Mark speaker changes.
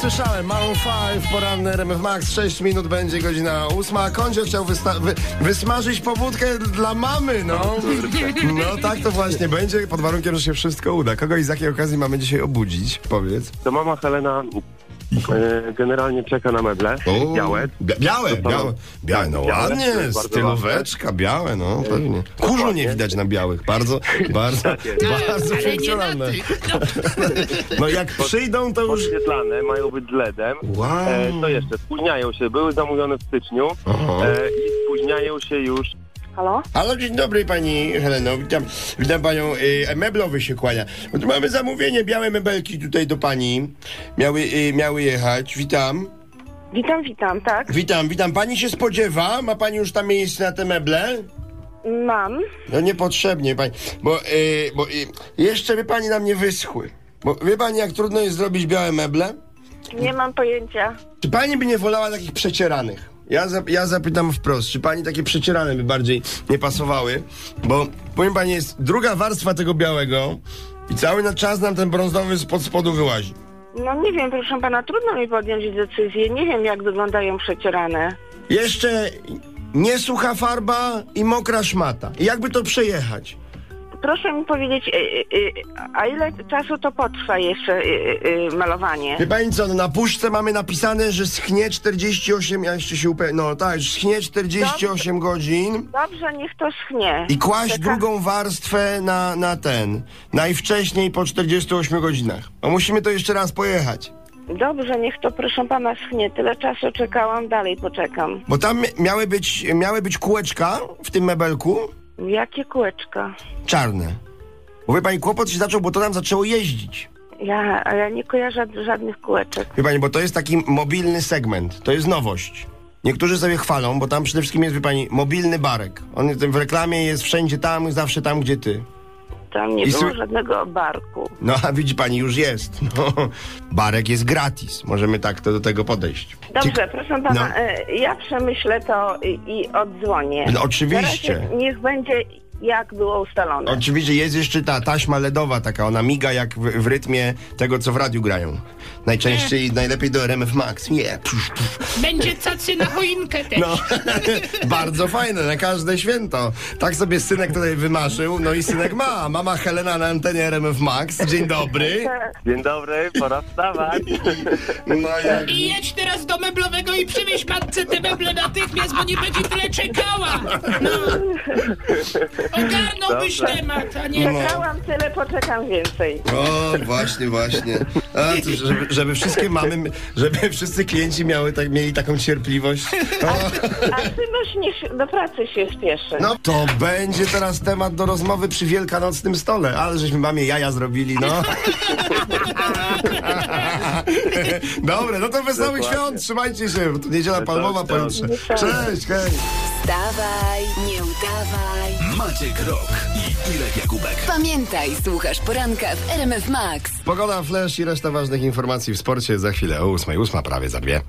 Speaker 1: słyszałem. Maroon 5, poranny RMF Max, 6 minut będzie godzina 8. Kondzio chciał wysta- wy- wysmażyć pobudkę dla mamy, no. No tak to właśnie będzie, pod warunkiem, że się wszystko uda. Kogo i z jakiej okazji mamy dzisiaj obudzić? Powiedz.
Speaker 2: To mama Helena e, generalnie czeka na meble
Speaker 1: O,
Speaker 2: E, białe.
Speaker 1: bia- białe,
Speaker 2: Zostaną-
Speaker 1: białe, białe, no
Speaker 2: Białe,
Speaker 1: ładnie,
Speaker 2: to jest bardzo E,
Speaker 1: stylóweczka, białe, no pewnie. Kurzu nie
Speaker 2: dokładnie.
Speaker 1: widać na białych, bardzo, bardzo, bardzo
Speaker 3: No, Ale nie na
Speaker 1: funkcjonalne.
Speaker 3: tych. No,
Speaker 1: No jak przyjdą, to już...
Speaker 2: Podświetlane, mają być LEDem.
Speaker 1: Wow.
Speaker 2: E,
Speaker 4: Mhm.
Speaker 2: co jeszcze? Spóźniają się, były zamówione w styczniu
Speaker 1: Aha.
Speaker 2: e, i spóźniają się już.
Speaker 5: Halo?
Speaker 4: Halo, dzień dobry pani Heleno, witam, witam panią, y, meblowy się kłania. No tu mamy zamówienie, białe mebelki tutaj do pani, miały, y, miały jechać, witam.
Speaker 5: Witam, witam, tak?
Speaker 4: Witam, witam, pani się spodziewa, ma pani już tam miejsce na te meble?
Speaker 5: Mam.
Speaker 4: No niepotrzebnie pani, bo, y, bo y, jeszcze by pani nam nie wyschły. Bo wie pani jak trudno jest zrobić białe meble?
Speaker 5: Nie mam pojęcia.
Speaker 4: Czy pani by nie wolała takich przecieranych? Ja, zap, ja zapytam wprost, czy pani takie przecierane by bardziej nie pasowały? Bo powiem pani, jest druga warstwa tego białego i cały na czas nam ten brązowy spod spodu wyłazi.
Speaker 5: No nie wiem, proszę pana, trudno mi podjąć decyzję. Nie wiem, jak wyglądają przecierane.
Speaker 4: Jeszcze niesucha farba i mokra szmata. I jakby to przejechać?
Speaker 5: Proszę mi powiedzieć, y, y, y, a ile czasu to potrwa jeszcze y, y, y, malowanie?
Speaker 4: Wie pani co, no na puszce mamy napisane, że schnie 48, ja jeszcze się upewnię, no tak, schnie 48 godzin.
Speaker 5: Dobrze, niech to schnie.
Speaker 4: I kłaść
Speaker 5: Czeka-
Speaker 4: drugą warstwę na, na ten. Najwcześniej po 48 godzinach. A musimy to jeszcze raz pojechać.
Speaker 5: Dobrze, niech to, proszę pana, schnie. Tyle czasu czekałam, dalej poczekam.
Speaker 4: Bo tam mia- miały być, miały być kółeczka w tym mebelku
Speaker 5: Jakie kółeczka?
Speaker 4: czarne. Bo wie pani, kłopot się zaczął, bo to nam zaczęło jeździć.
Speaker 5: Ja, a ja nie kojarzę żad- żadnych kółeczek.
Speaker 4: Wie pani, bo to jest taki mobilny segment. To jest nowość. Niektórzy sobie chwalą, bo tam przede wszystkim jest, wie pani, mobilny barek. On jest- w reklamie jest wszędzie tam, zawsze tam, gdzie ty.
Speaker 5: Tam nie
Speaker 4: I
Speaker 5: było
Speaker 4: sły-
Speaker 5: żadnego barku.
Speaker 4: No, a widzi pani, już jest. No, barek jest gratis. Możemy tak to do tego podejść.
Speaker 5: Dobrze,
Speaker 4: Ciek-
Speaker 5: proszę pana,
Speaker 4: No.
Speaker 5: e, ja przemyślę to i, i oddzwonię.
Speaker 4: No, oczywiście.
Speaker 5: Na razie Niech będzie jak było ustalone.
Speaker 4: Oczywiście jest jeszcze ta taśma LEDowa taka, ona miga jak w, w rytmie tego, co w radiu grają. Najczęściej, najlepiej do RMF Max. Nie, psz, psz.
Speaker 3: Będzie cacy na choinkę też.
Speaker 4: No, bardzo fajne, na każde święto. Tak sobie synek tutaj wymarzył, no i synek ma. Mama Helena na antenie RMF Max. Dzień dobry.
Speaker 2: Dzień dobry, pora wstawać.
Speaker 4: No jak...
Speaker 3: I jedź teraz do meblowego i przywieź matce te meble natychmiast, bo nie będzie tyle czekała. No. Ogarnąłbyś
Speaker 2: Dobra.
Speaker 3: temat, a
Speaker 4: no.
Speaker 5: No.
Speaker 3: nie... tak.
Speaker 5: Czekałam tyle, poczekam więcej.
Speaker 4: O, właśnie, właśnie. A, to, żeby, żeby wszystkie mamy, żeby wszyscy klienci miały tak, mieli taką cierpliwość. O.
Speaker 5: A Synuś niech do pracy się spieszy.
Speaker 4: No to będzie teraz temat do rozmowy przy wielkanocnym stole, ale żeśmy mamie jaja zrobili, no. Dobre, no to wesołych
Speaker 2: Dokładnie.
Speaker 4: świąt, trzymajcie się, bo tu niedziela
Speaker 2: Wesołych
Speaker 4: palmowa
Speaker 2: świąt.
Speaker 4: pojutrze. Cześć, hej.
Speaker 6: Wstawaj, nie udawaj.
Speaker 7: Maciek Rok i Irek Jakubek.
Speaker 6: Pamiętaj, słuchasz poranka w RMF Max.
Speaker 4: Pogoda, flash i reszta ważnych informacji w sporcie za chwilę o ósmej, ósma prawie za dwie.